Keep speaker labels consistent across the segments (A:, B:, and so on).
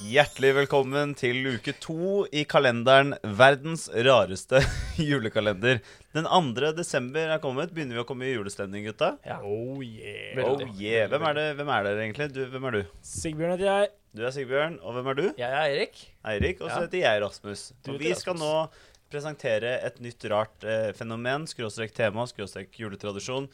A: Hjertelig velkommen til uke to i kalenderen Verdens rareste julekalender. Den 2. desember er kommet. Begynner vi å komme i julestemning, gutta?
B: Ja.
C: Oh yeah.
A: Oh yeah. Hvem er, det, hvem er dere egentlig? Du, hvem er du?
B: Sigbjørn heter jeg.
A: Du er Sigbjørn, og hvem er du?
C: Jeg er Erik.
A: Eirik. Og så
C: Ja.
A: heter jeg Rasmus.
B: Du
A: Og
B: heter
A: vi skal nå presentere et nytt rart eh, fenomen, skråstrek tema, skråstrek juletradisjon,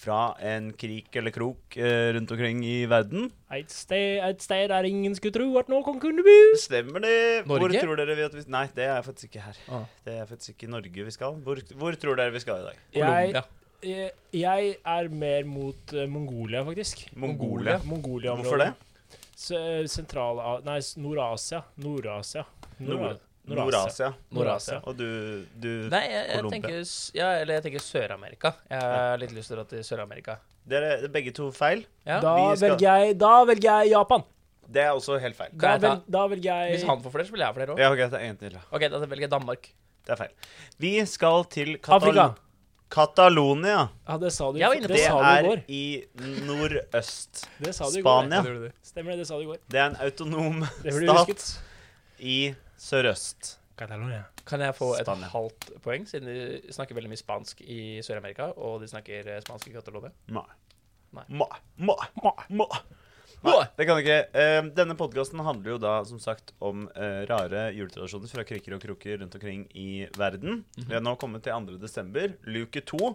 A: fra en krik eller krok eh, rundt omkring i verden.
B: Et sted, et sted der ingen skulle tro at noen kunne bo.
A: Stemmer det! Hvor
C: Norge?
A: tror dere vi at vi Nei, det er faktisk ikke her.
C: Ah.
A: Det er faktisk ikke Norge vi skal. Hvor, hvor tror dere vi skal i dag?
B: Jeg,
C: Colombia.
B: jeg, Eh, jeg er mer mot eh, Mongolia, faktisk.
A: Mongolia.
B: Mongolia
A: Hvorfor det?
B: Sentral... ah, Nei, s- Nord-Asia. Nord-Asia. Nord- Nord-Asia.
A: Nord-Asia.
B: Nord-Asia.
A: Og du, du
C: Nei, jeg, jeg
A: Colombia.
C: tenker, s- ja, eller jeg tenker Sør-Amerika. Jeg har litt lyst til å dra til Sør-Amerika.
A: Dere begge to feil.
C: Ja.
B: Da,
A: vi skal-
B: velger jeg, da velger jeg Japan.
A: Det er også helt feil.
B: Da,
C: Kan jeg ta-
B: vel, da velger
C: Hvis
B: jeg
C: han får flere, så vil jeg ha flere òg.
A: Ja, ok, det er en til. da.
C: OK, da velger jeg Danmark.
A: Det er feil. Vi skal til Katal
B: Afrika.
A: Catalonia.
B: Ja, det sa du,
C: Jeg var inne på
B: det
A: Det
B: sa du i
A: er
B: går.
A: i nordøst.
B: Det sa du i går.
A: Spania.
B: Stemmer det, det sa du i går.
A: Det er en autonom
B: Det burde du husket.
A: stat i sørøst.
B: Catalonia.
C: Kan jeg få et
A: Spania.
C: halvt poeng, siden de snakker veldig mye spansk i Sør-Amerika, og de snakker eh, spansk i Catalonia?
A: Nei.
C: Nei.
A: Ma, ma, ma, ma. Nei,
C: Må.
A: det kan du ikke. Eh, Denne podkasten handler jo da som sagt om eh, rare juletradisjoner fra krikker og kroker rundt omkring i verden.
C: Mhm.
A: Vi er nå kommet til 2. desember, luke to.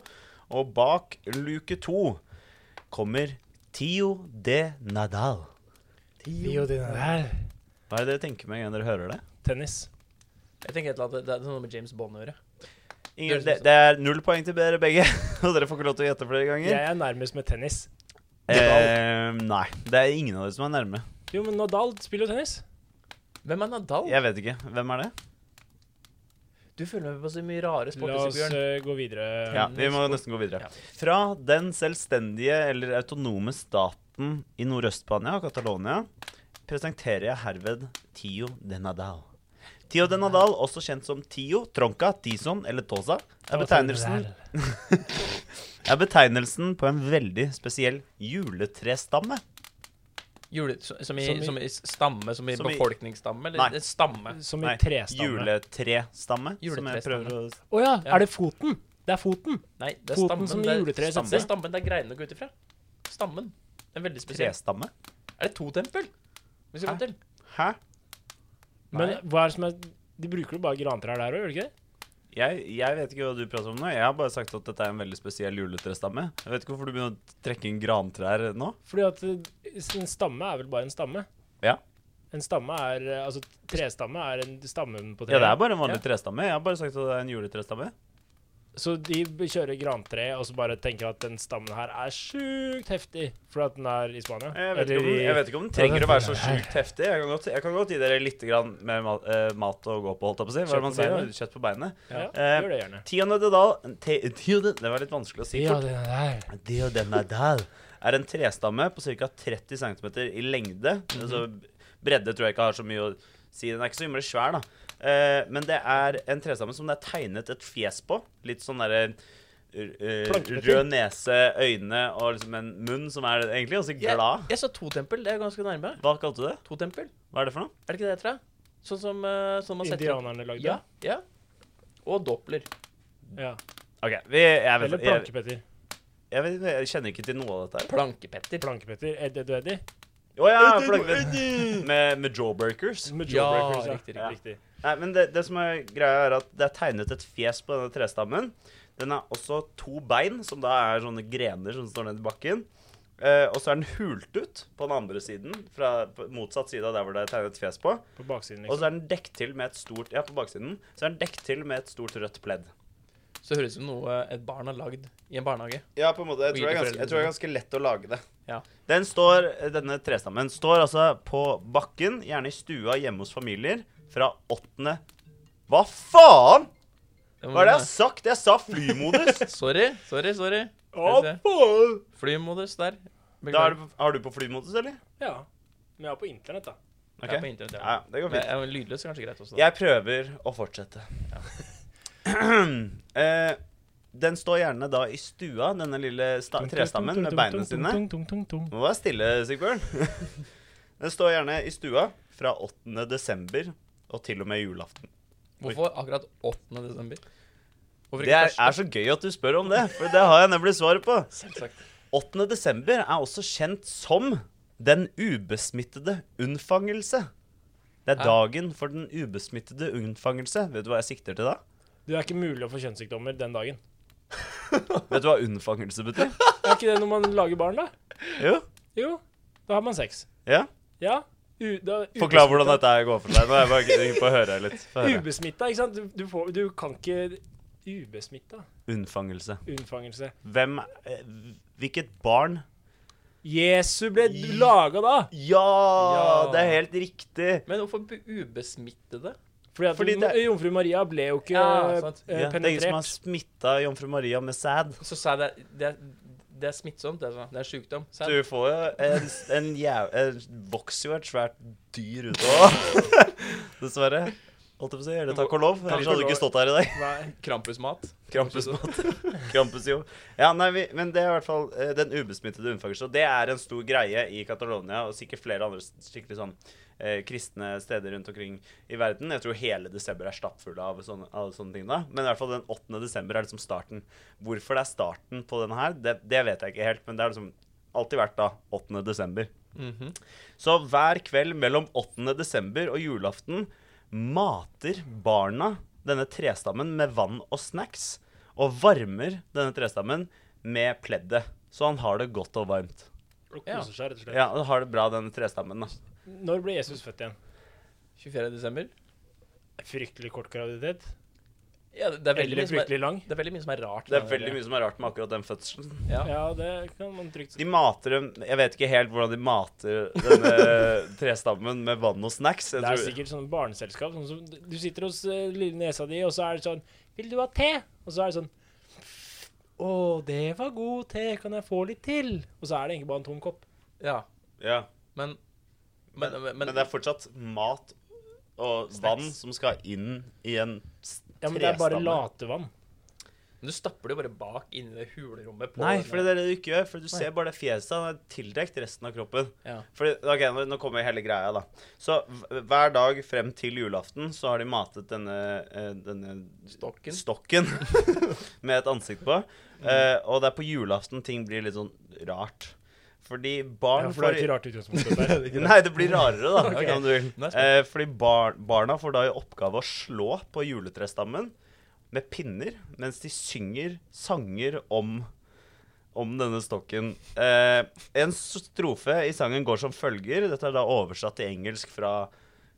A: Og bak luke to kommer Tio de Nadal. Hva er det dere tenker med en gang dere hører det?
B: Tennis.
C: Jeg tenker et eller annet, Det er noe med James Bond å gjøre.
A: Ingen,
C: Det er
A: det, det er null poeng til dere begge, og dere får ikke lov til å gjette flere ganger.
B: Jeg er nærmest med tennis.
A: Eh, nei, det er ingen av dere som er nærme.
B: Jo, men Nadal spiller jo tennis.
C: Hvem er Nadal?
A: Jeg vet ikke. Hvem er det?
C: Du følger med på så mye rare
B: La
C: sporter,
B: oss
C: Bjørn.
B: eh, gå videre.
A: Ja, vi må nesten gå videre.
C: Ja.
A: Fra den selvstendige eller autonome staten i Nordøst-Spania, Catalonia, presenterer jeg herved Tio de Nadal. Tio de Nadal, også kjent som Tio, Tronca, Tison eller Tosa, er betegnelsen, er betegnelsen på en veldig spesiell juletrestamme.
C: Jule, som, som, i,
B: Som i-
C: som i stamme? Som i
A: Som i-
C: befolkningsstamme? Eller
A: Nei.
C: en stamme?
B: Som i
A: Nei,
B: trestamme.
A: juletrestamme. Som jeg prøver å
B: Å ja,
C: Ja.
B: er det foten? Det er foten.
C: Nei, det er
B: Foten
C: stammen.
B: som
C: det er-
B: juletreet
C: stammen.
A: setter.
C: Det er stammen det er greinene går ut ifra. Stammen. Det er veldig spesiell.
A: Trestamme?
C: Er det to tempel? Vi
A: Hæ?
C: skal fram til.
A: Hæ?
B: Men
C: Nei.
B: hva er det som er De bruker jo bare grantrær der òg, gjør de ikke det?
A: Jeg, jeg vet ikke hva du prater om nå. Jeg har bare sagt at dette er en veldig spesiell juletrestamme. Jeg vet ikke hvorfor du begynner å trekke inn grantrær nå.
B: Fordi at eh, en stamme er vel bare en stamme?
A: Ja.
B: En stamme er eh, Altså, trestamme er en stamme på
A: Ja,
B: treet.
A: det er bare en vanlig
C: Ja.
A: trestamme. Jeg har bare sagt at det er en juletrestamme.
B: Så de b- kjører grantre og så bare tenker at den stammen her er sjukt heftig fordi at den er i Spania?
A: Jeg vet, ikke om,
B: Eller i-
A: jeg vet ikke om den trenger å være så sjukt heftig. Jeg kan godt, jeg kan godt gi dere litt grann mer mat, eh, mat å gå på, holdt jeg på å si. Hva er det man
B: Kjøtt på
A: sier?
B: beinet.
A: Kjøtt på beinet.
B: ja,
A: Eh,
B: gjør det gjerne.
A: Tione de Dal te, Tione, Det var litt vanskelig å si. fort.
B: den der.
A: Tio de Nadal er en trestamme på ca. 30 cm i lengde.
B: Mhm.
A: Altså, bredde tror jeg ikke har så mye å si. Den er ikke så innmari svær, da. Eh, men det er en trestamme som det er tegnet et fjes på. Litt sånn derre eh,
B: Plankete.
A: Rød nese, øyne og liksom en munn som er egentlig ganske
C: Jeg,
A: glad.
C: jeg sa to tempel. Det er ganske nærme.
A: Hva kalte du det?
C: To tempel.
A: Hva er det for noe?
C: Er det ikke det jeg tror? Sånn som eh, sånn man setter opp-
B: Indianerne lagde
C: Ja. ja. Og Doppler.
B: det. Ja.
A: OK, vi, jeg, vet,
B: Eller
A: jeg,
B: Plankepetter.
A: jeg, vet, jeg kjenner ikke til noe av dette her.
C: Plankepetter.
B: Plankepetter. Eddie du Eddie?
A: Å ja! Plank, med, med jawbreakers.
B: Med
C: Ja,
B: jawbreakers,
C: riktig,
A: riktig,
B: riktig.
A: Nei, men det, det som er greia er at det er tegnet et fjes på denne trestammen. Den har også to bein, som da er sånne grener som står ned i bakken. Eh, og så er den hult ut på den andre siden, fra på motsatt side av der hvor det er tegnet et fjes på.
B: På baksiden,
A: Og
B: liksom.
A: så er den dekket til med et stort Ja, på baksiden. Så er den dekket til med et stort rødt pledd.
C: Så høres det ut som noe eh, et barn har lagd i en barnehage.
A: Ja, på en måte. Jeg
C: Og gir
A: tror det er ganske,
C: til
A: jeg
C: foreldrene
A: tror det er ganske lett å lage det.
C: Ja.
A: Den står, Denne trestammen står altså på bakken, gjerne i stua hjemme hos familier, fra åttende Hva faen?! Hva er det jeg
C: Mm.
A: har sagt? Jeg sa flymodus!
C: Sorry, sorry, sorry.
B: liksom.
A: Å,
C: Skal vi se.
A: faen!
C: Flymodus der.
A: Da er du på, har du på flymodus, eller?
B: Ja. Men jeg er på internett, da.
C: Jeg
A: Ok.
C: er på internett,
A: Ja,
C: ja.
A: det går
C: Men
A: fint.
C: jeg er Lydløs er kanskje greit også. da.
A: Jeg prøver å fortsette. Eh, Den står gjerne da i stua, denne lille sta trestammen med beina sine.
B: Tung, tung, tung, tung, tung.
A: Må være stille, Sigbjørn. Den står gjerne i stua fra 8. desember og til og med julaften.
C: Hvorfor akkurat 8. desember? Hvorfor
A: Det er, er så gøy at du spør om det, for det har jeg nemlig svaret på.
C: Selvsagt.
A: 8. desember er også kjent som den ubesmittede unnfangelse. Det er
C: Hæ?
A: dagen for den ubesmittede unnfangelse. Vet du hva jeg sikter til da?
B: Det er ikke mulig å få kjønnssykdommer den dagen.
A: Vet du hva unnfangelse betyr?
B: Er ikke det når man lager barn, da?
A: Jo.
B: Jo, da har man sex.
A: Ja.
B: Ja. U da,
A: Forklar hvordan dette her går for seg. Nå er jeg bare gidder på å høre litt. Få høre.
B: Ubesmitta, ikke sant? Du, du, får, du kan ikke Ubesmitta?
A: Unnfangelse.
B: Unnfangelse.
A: Hvem eh, Hvilket barn
B: Jesu ble laga da!
A: ja,
C: Ja.
A: Det er helt riktig!
C: Men hvorfor bu- ubesmittede?
B: Fordi at
A: Fordi
B: Mo-
A: det-
B: Jomfru Maria ble jo ikke
C: Ja, sant.
B: eh,
A: Ja, det er ingen som har
B: penetrert.
A: smitta jomfru Maria med sæd.
C: Så sa jeg det, det, det er smittsomt. Det er, sånn, det er sjukdom. Så
A: Du får jo en, en jæv... En vokser jo et svært dyr ut av Dessverre. Holdt jeg på å si. Eller takk og lov. Ellers hadde du ikke stått her i dag.
B: Nei.
C: Krampusmat.
A: Krampusmat. Krampus, jo. Ja, nei, vi, men det er i hvert fall eh, den ubesmittede unnfangelsen. Og det er en stor greie i Catalonia og sikkert flere andre s- skikkelig sånn eh, kristne steder rundt omkring i verden. Jeg tror hele desember er stappfull av sånne, av sånne ting da. Men i hvert fall den 8. desember er liksom starten. Hvorfor det er starten på denne her, det, det vet jeg ikke helt, men det har liksom alltid vært da 8. desember. Mhm. Så hver kveld mellom 8. desember og julaften mater barna denne trestammen med vann og snacks, og varmer denne trestammen med pleddet. Så han har det godt og varmt.
B: Og koser seg, rett og slett.
A: Ja, han har det bra, denne trestammen. da.
B: Når ble Jesus født igjen?
C: 24. desember.
B: Fryktelig kort graviditet?
C: Ja, det, det, er veldig
B: Eller
C: mye som
B: fryktelig
C: er,
B: lang?
C: det er veldig mye som er rart.
A: Det er veldig mye som er rart med akkurat den fødselen.
C: Ja.
B: Ja, det kan man trygt si.
A: De mater dem Jeg vet ikke helt hvordan de mater denne trestammen med vann og snacks. Jeg
B: Det er
A: tror,
B: sikkert sånn barneselskap. Sånn som du sitter hos eh, lille nesa di, og så er det sånn 'Vil du ha te?' Og så er det sånn 'Å, det var god te. Kan jeg få litt til?' Og så er det egentlig bare en tom kopp.
C: Ja.
A: ja.
C: Men,
A: men,
C: men, men,
A: men det er fortsatt mat og vann som skal inn i en s-
B: Ja, men det er bare
A: trestamme.
B: latevann.
C: men du stapper det jo bare bak inni det hulerommet på
A: Nei,
C: denne-
A: for det er det du ikke gjør. For du ser bare det fjeset. Han er tildekt resten av kroppen.
C: Ja.
A: Fordi, ok, nå- Nå kommer hele greia, da. Så hv- hver dag frem til julaften så har de matet denne, eh, denne
C: Stokken.
A: stokken med et ansikt på.
B: Mm.
A: Eh, og det er på julaften ting blir litt sånn rart. Fordi barn
B: Ja, for det er
A: får-
B: ikke rart utgangspunktet der.
A: Nei, det blir rarere, da.
C: Ok.
A: om du vil.
C: Nå er jeg
A: Eh, fordi bar barna får da i oppgave å slå på juletrestammen med pinner mens de synger sanger om om denne stokken. Eh, en strofe i sangen går som følger. Dette er da oversatt til engelsk fra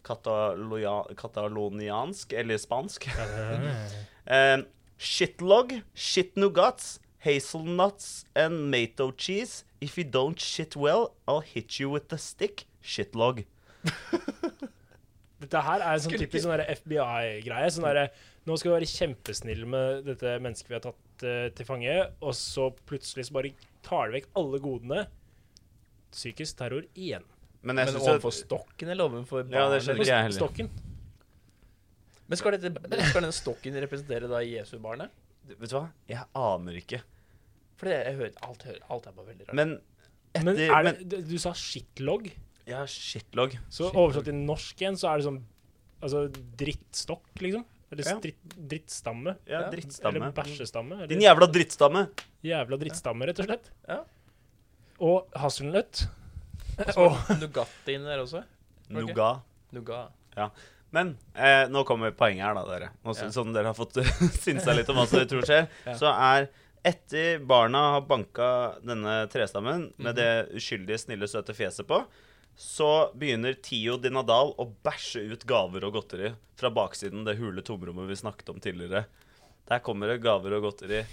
A: kataloja- kataloniansk eller spansk. Eh, shitlog, shitnugats, hazelnuts and mato cheese. If you don't shit well, I'll hit you with a stick. Shitlog.
B: Dette her er en sånn
C: Skulle
B: typisk sånn derre FBI-greie. Sånn derre Nå skal vi være kjempesnille med dette mennesket vi har tatt eh, til fange, og så plutselig så bare tar de vekk alle godene. Psykisk terror igjen.
A: Men jeg
C: Men
A: synes
C: overfor
A: jo
C: stokken eller overfor barnet?
A: Ja, det skjønner
C: eller-
A: ikke jeg heller.
B: Stokken.
C: Men skal, dette, skal denne stokken representere da Jesu-barnet?
A: Vet du hva? Jeg aner ikke.
C: For det, jeg hører, alt, hører, alt er bare veldig rart.
A: Men etter
B: Men
A: men
B: er det, du sa shitlog.
A: Ja, shitlog.
B: Så oversatt til norsk igjen, så er det sånn altså, drittstokk, liksom. Eller
A: Ja.
B: stritt, drittstamme.
A: Ja,
C: Ja,
A: drittstamme.
B: Eller bæsjestamme.
A: Din
B: Eller
A: jævla drittstamme!
B: jævla drittstamme, rett og slett.
C: Ja.
B: Og hasselnøtt.
C: Og Nugatti inn der også. Ok.
A: Nougat.
C: Nougat.
A: Men eh, nå kommer poenget her, da, dere. Nå, s-
C: Ja.
A: Som dere har fått synsa litt om hva som tror skjer.
C: Ja.
A: Så er etter barna har banka denne trestammen
C: Mhm.
A: med det uskyldige, snille, søte fjeset på, så begynner Tio Dinadal å bæsje ut gaver og godteri fra baksiden det hule tomrommet vi snakket om tidligere. Der kommer det gaver og godteri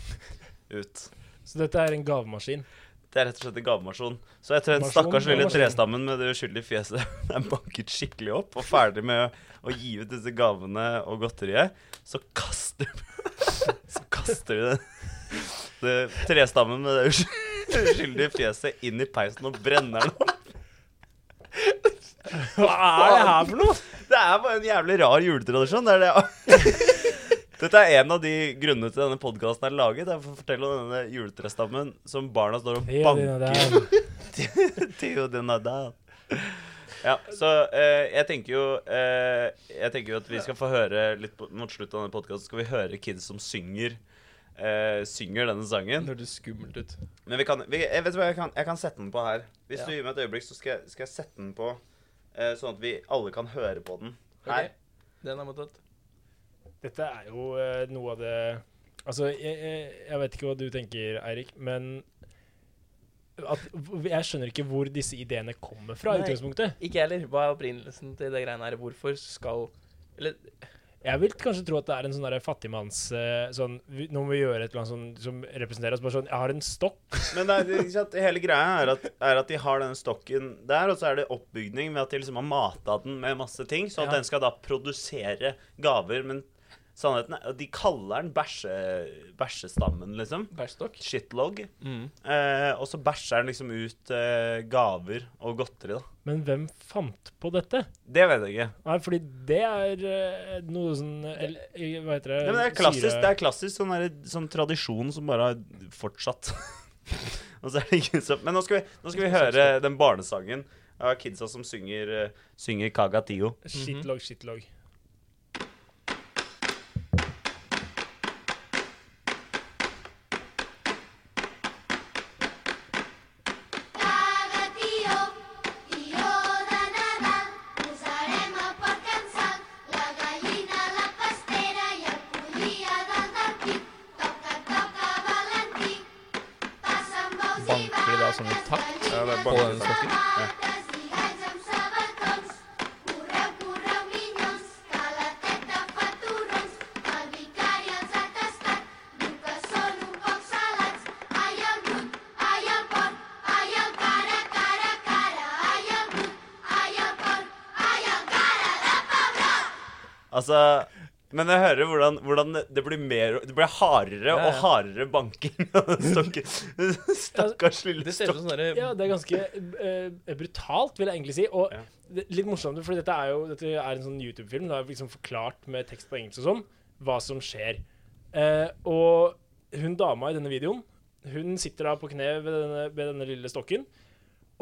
A: ut.
B: Så dette er en gavemaskin.
A: Det er rett og slett en gavemasjon. Så etter den
B: Masjon,
A: stakkars lille
B: gavemasjon.
A: trestammen med det uskyldige fjeset er banket skikkelig opp og ferdig med å gi ut disse gavene og godteriet, så kaster Så kaster de den det, trestammen med det usky- uskyldige fjeset inn i peisen og brenner den opp.
B: Hva er det her for noe?!
A: Det er bare en jævlig rar juletradisjon. Det er det. Dette er en av de grunnene til denne podkasten er laget. Det er for å fortelle om denne juletrestammen som barna står og
B: Ja, det er
A: banker
B: det.
A: til. og den er der. Ja, så eh, jeg tenker jo eh, Jeg tenker jo at vi skal få høre litt på, mot slutten av denne podkasten skal vi høre kids som synger eh, Synger denne sangen.
C: Det hørtes skummelt ut.
A: Men vi kan vi, Jeg vet hva, jeg kan, jeg kan sette den på her. Hvis
C: Ja.
A: du gir meg et øyeblikk, så skal jeg, skal jeg sette den på eh, sånn at vi alle kan høre på den her.
C: Ok, Den er mottatt.
B: Dette er jo eh, noe av det Altså, jeg, jeg, jeg vet ikke hva du tenker, Eirik, men at, Jeg skjønner ikke hvor disse ideene kommer fra. i
C: Nei.
B: utgangspunktet.
C: Ikke jeg heller. Hva er opprinnelsen til det greiene her? Hvorfor skal Eller
B: Jeg vil kanskje tro at det er en sånn der fattigmanns eh, sånn, vi, Nå må vi gjøre et eller annet sånn, som representerer oss. Bare sånn, jeg har en stokk.
A: Men det er, ikke sant, hele greia er at, er at de har den stokken der, og så er det oppbygning ved at de liksom har mata den med masse ting, sånn at
B: Ja.
A: den skal da produsere gaver. Men sannheten er De kaller den bæsje, bæsjestammen, liksom.
C: bærstokk?
A: Shitlog. Eh, og så bæsjer den liksom ut eh, gaver og godteri, da.
B: Men hvem fant på dette?
A: Det vet jeg ikke.
B: Nei, fordi det er eh, noe sånn el, eh, Hva heter det?
A: Nei, men det er klassisk,
B: Syre-
A: det er klassisk sånn, der, sånn tradisjon som bare har fortsatt. og så er det ikke så Men nå skal vi, nå skal vi høre den barnesangen av kidsa som synger, eh, synger Kaga Tio.
B: Shitlog, shitlog.
D: Cagatio, tío de nada, posarem a per cansar la gallina a la pastera i el pollí a dalt del pit. Toca, toca, Valentí, passen bous i
C: Banker de da som en takt?
D: Ja,
A: det er
C: På den
A: bankesak.
C: stokken?
D: vaques i galls amb sabatons. Correu, correu, minyons, que la teta fa turons. El vicari els ha tastat, diu que són un poc salats. Ai, el brut, ai, el porc, ai, el cara, cara, cara. Ai, el brut, ai, el porc, ai, el cara de pebrot.
A: Altså Men jeg hører hvordan, hvordan det blir mer Det blir hardere
C: Ja, ja.
A: og hardere banking av den stokken. Stakkars lille
C: Det ser
A: stokk.
C: ut som sånn derre
B: Ja, det er ganske eh, brutalt, vil jeg egentlig si. Og
A: Ja.
B: det- litt morsomt, for dette er jo dette er en sånn YouTube-film. Det er liksom forklart med tekst på engelsk og sånn hva som skjer. Eh, og hun dama i denne videoen, hun sitter da på kne ved denne, ved denne lille stokken.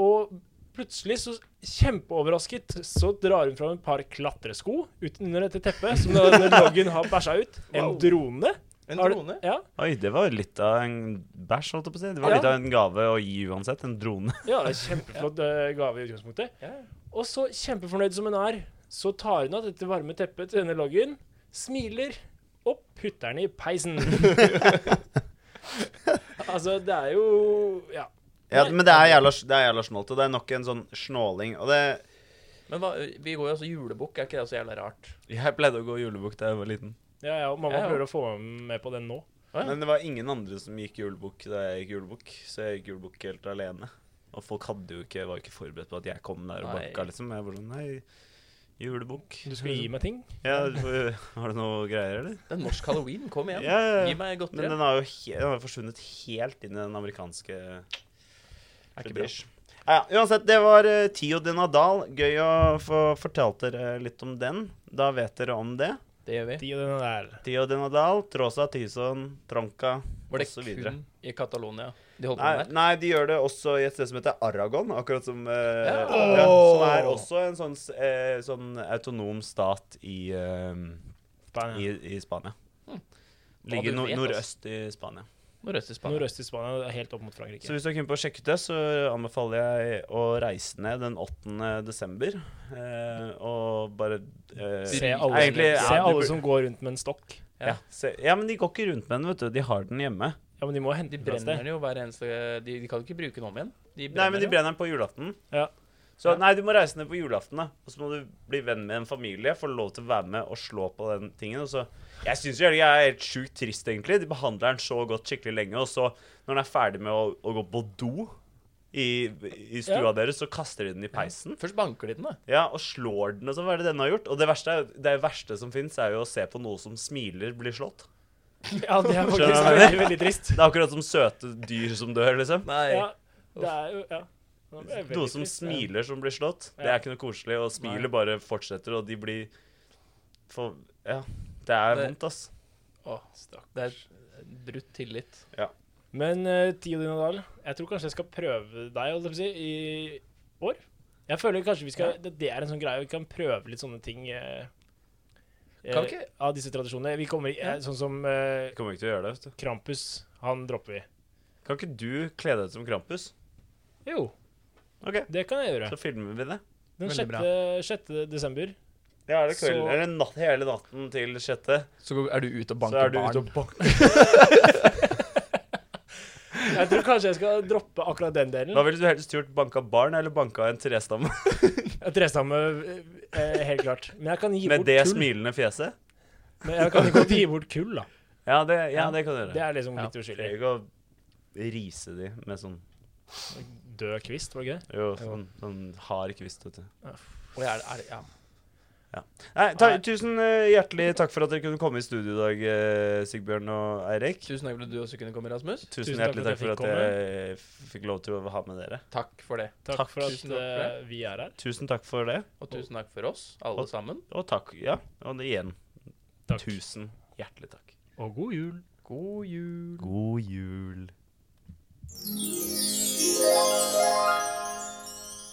B: Og plutselig, så kjempeoverrasket, så drar hun fram et par klatresko ut under dette teppet, som denne loggen har bæsja ut. En
C: Wow.
B: drone.
C: En
B: Har du-
C: drone?
B: Ja.
A: Oi, det var litt av en bæsj, holdt jeg på å si. Det var
B: Ja.
A: litt av en gave å gi uansett. En drone.
B: ja det er kjempeflott eh, gave i utgangspunktet.
C: Ja.
B: Og så, kjempefornøyd som hun er, så tar hun av dette varme teppet til denne loggen, smiler og putter den i peisen. altså, det er jo Ja.
A: Ja, men det er jævla, det er jævla snålt, og det er nok en sånn snåling. Og det
C: Men hva, vi går jo altså julebukk, er ikke det så jævla rart?
A: Jeg pleide å gå julebukk da jeg var liten.
B: ja, ja og mamma
C: Ja, ja.
B: prøver å få meg med på den nå.
C: Ja.
A: Men det var ingen andre som gikk julebukk da jeg gikk julebukk, så jeg gikk julebukk helt alene. Og folk hadde jo ikke, var ikke forberedt på at jeg kom der og
C: Nei.
A: banka, liksom. Jeg var sånn Nei, julebukk.
B: Du skulle gi meg ting.
A: Ja, du får- har du noe greier, eller?
C: Det er norsk halloween, kom igjen.
A: Ja, ja, ja.
C: Gi meg
A: Men
C: godteri.
A: den har jo he den har jo forsvunnet helt inn i den amerikanske
C: Er ikke bra.
A: fetish. Ja, ja, uansett, det var eh, Tio de Nadal. Gøy å få fortalt dere litt om den. Da vet dere om det.
C: Det gjør vi.
B: De og den der.
A: Tio de Nadal, Trosa Tyson, Tronca
C: Var det
A: osv.
C: kun i Catalonia de holdt på
A: Nei,
C: med det?
A: nei, de gjør det også i et sted som heter Aragon, akkurat som eh,
C: Ja.
A: ja, Som er også en sånn, s- eh, sånn autonom stat i, eh, i, i Spania. Ligger no
C: Hmm. du vet, altså. ass.
A: nordøst i Spania.
C: Nordøst i Spania.
B: Nordøst i Spania, det er helt opp mot Frankrike.
A: Så hvis du er keen på å sjekke ut det, så anbefaler jeg å reise ned den 8. desember. Eh, og bare eh,
B: Se
C: Egentlig,
B: alle, som,
A: ja,
B: se
A: du
B: alle
A: bur-
B: som går rundt med en stokk.
A: ja, se, ja, men de går ikke rundt med den, vet du. De har den hjemme.
B: Ja, men de må hente
C: De
B: den fra et
C: brenner
B: sted.
C: den jo hver eneste De, de kan jo ikke bruke den om igjen. De
A: Nei, men de
C: jo.
A: brenner den på julaften.
B: Ja.
A: Så
C: Ja.
A: nei, du må reise ned på julaften, da. Og så må du bli venn med en familie, få lov til å være med og slå på den tingen. Og så Jeg syns jo helga er helt sjukt trist, egentlig. De behandler den så godt skikkelig lenge, og så, når den er ferdig med å, å gå på do i, i stua
B: Ja.
A: deres, så kaster de den i peisen.
C: Først banker de den, da.
A: Ja, og slår den, og så hva er det denne har gjort? Og det verste, er- det verste som fins, er jo å se på noe som smiler, blir slått.
B: Ja, det er
A: Skjønner
B: faktisk
A: du hva jeg
B: veldig, veldig trist.
A: Det er akkurat som søte dyr som dør, liksom.
C: Nei.
B: Ja, det er jo Ja. Det er veldig
A: Noe som
B: trist.
A: smiler som blir slått. Det
B: Ja.
A: er ikke noe koselig, og smilet bare fortsetter, og de blir for, Ja. Det er
C: Det-
A: vondt, ass.
C: Å, det er brutt tillit.
B: eh, Men uh, Tio Dinadal, jeg tror kanskje jeg skal prøve deg holdt jeg på å si, i år. Jeg Jeg føler kanskje vi skal Det det er en sånn greie vi kan prøve litt sånne ting eh, eh,
C: Kan vi ikke?
B: av disse tradisjonene. Vi kommer i- eh, Sånn som eh,
A: Jeg kommer ikke til å gjøre det. vet du.
B: Krampus. Han dropper vi.
A: Kan ikke du kle deg ut som Krampus?
B: Jo,
A: Ok,
B: det kan jeg gjøre.
A: så filmer vi det.
B: Den
C: Veldig bra.
B: 6. 6. desember.
A: Ja, er
B: det kvelden-
A: Eller natt, hele natten til sjette.
C: Så går- er du ute
A: Så
C: og banker
A: er du ute
C: barn.
A: og banker.
B: Jeg tror kanskje jeg skal droppe akkurat den delen.
A: Hva ville du helst gjort? Banka barn eller banka en trestamme?
B: Jeg trestamme, eh, helt klart. Men jeg kan gi
A: Med
B: bort
A: det
B: kull.
A: smilende fjeset?
B: Men jeg kan ikke gi bort kull, da.
A: Ja, det, ja, det kan du
B: Det
A: gjøre.
B: er liksom
C: Ja.
B: litt
A: Det er
B: uskyldig.
A: ikke å rise de med sånn
B: Død kvist, var det ikke det?
A: Jo, sånn, sånn hard kvist, vet du.
C: Oi, er det, er det, ja.
A: Nei, ta,
B: Nei.
A: tusen eh, hjertelig takk for at dere kunne komme i studio i dag, eh, Sigbjørn og Eirik.
C: Tusen takk for at du også kunne komme, Rasmus.
A: Tusen
B: Tusen
A: hjertelig takk
B: takk
A: for
B: for at
A: at jeg fikk lov til å ha med dere.
C: Takk for det.
B: Takk,
A: Takk,
B: for at
C: tusen takk for
B: eh, vi er her.
A: Tusen takk for det,
C: Og tusen takk for oss, alle
A: Og-
C: sammen.
A: og takk. Ja, og igjen,
B: Takk.
A: tusen hjertelig takk.
B: Og god jul.
C: God jul.
A: God jul.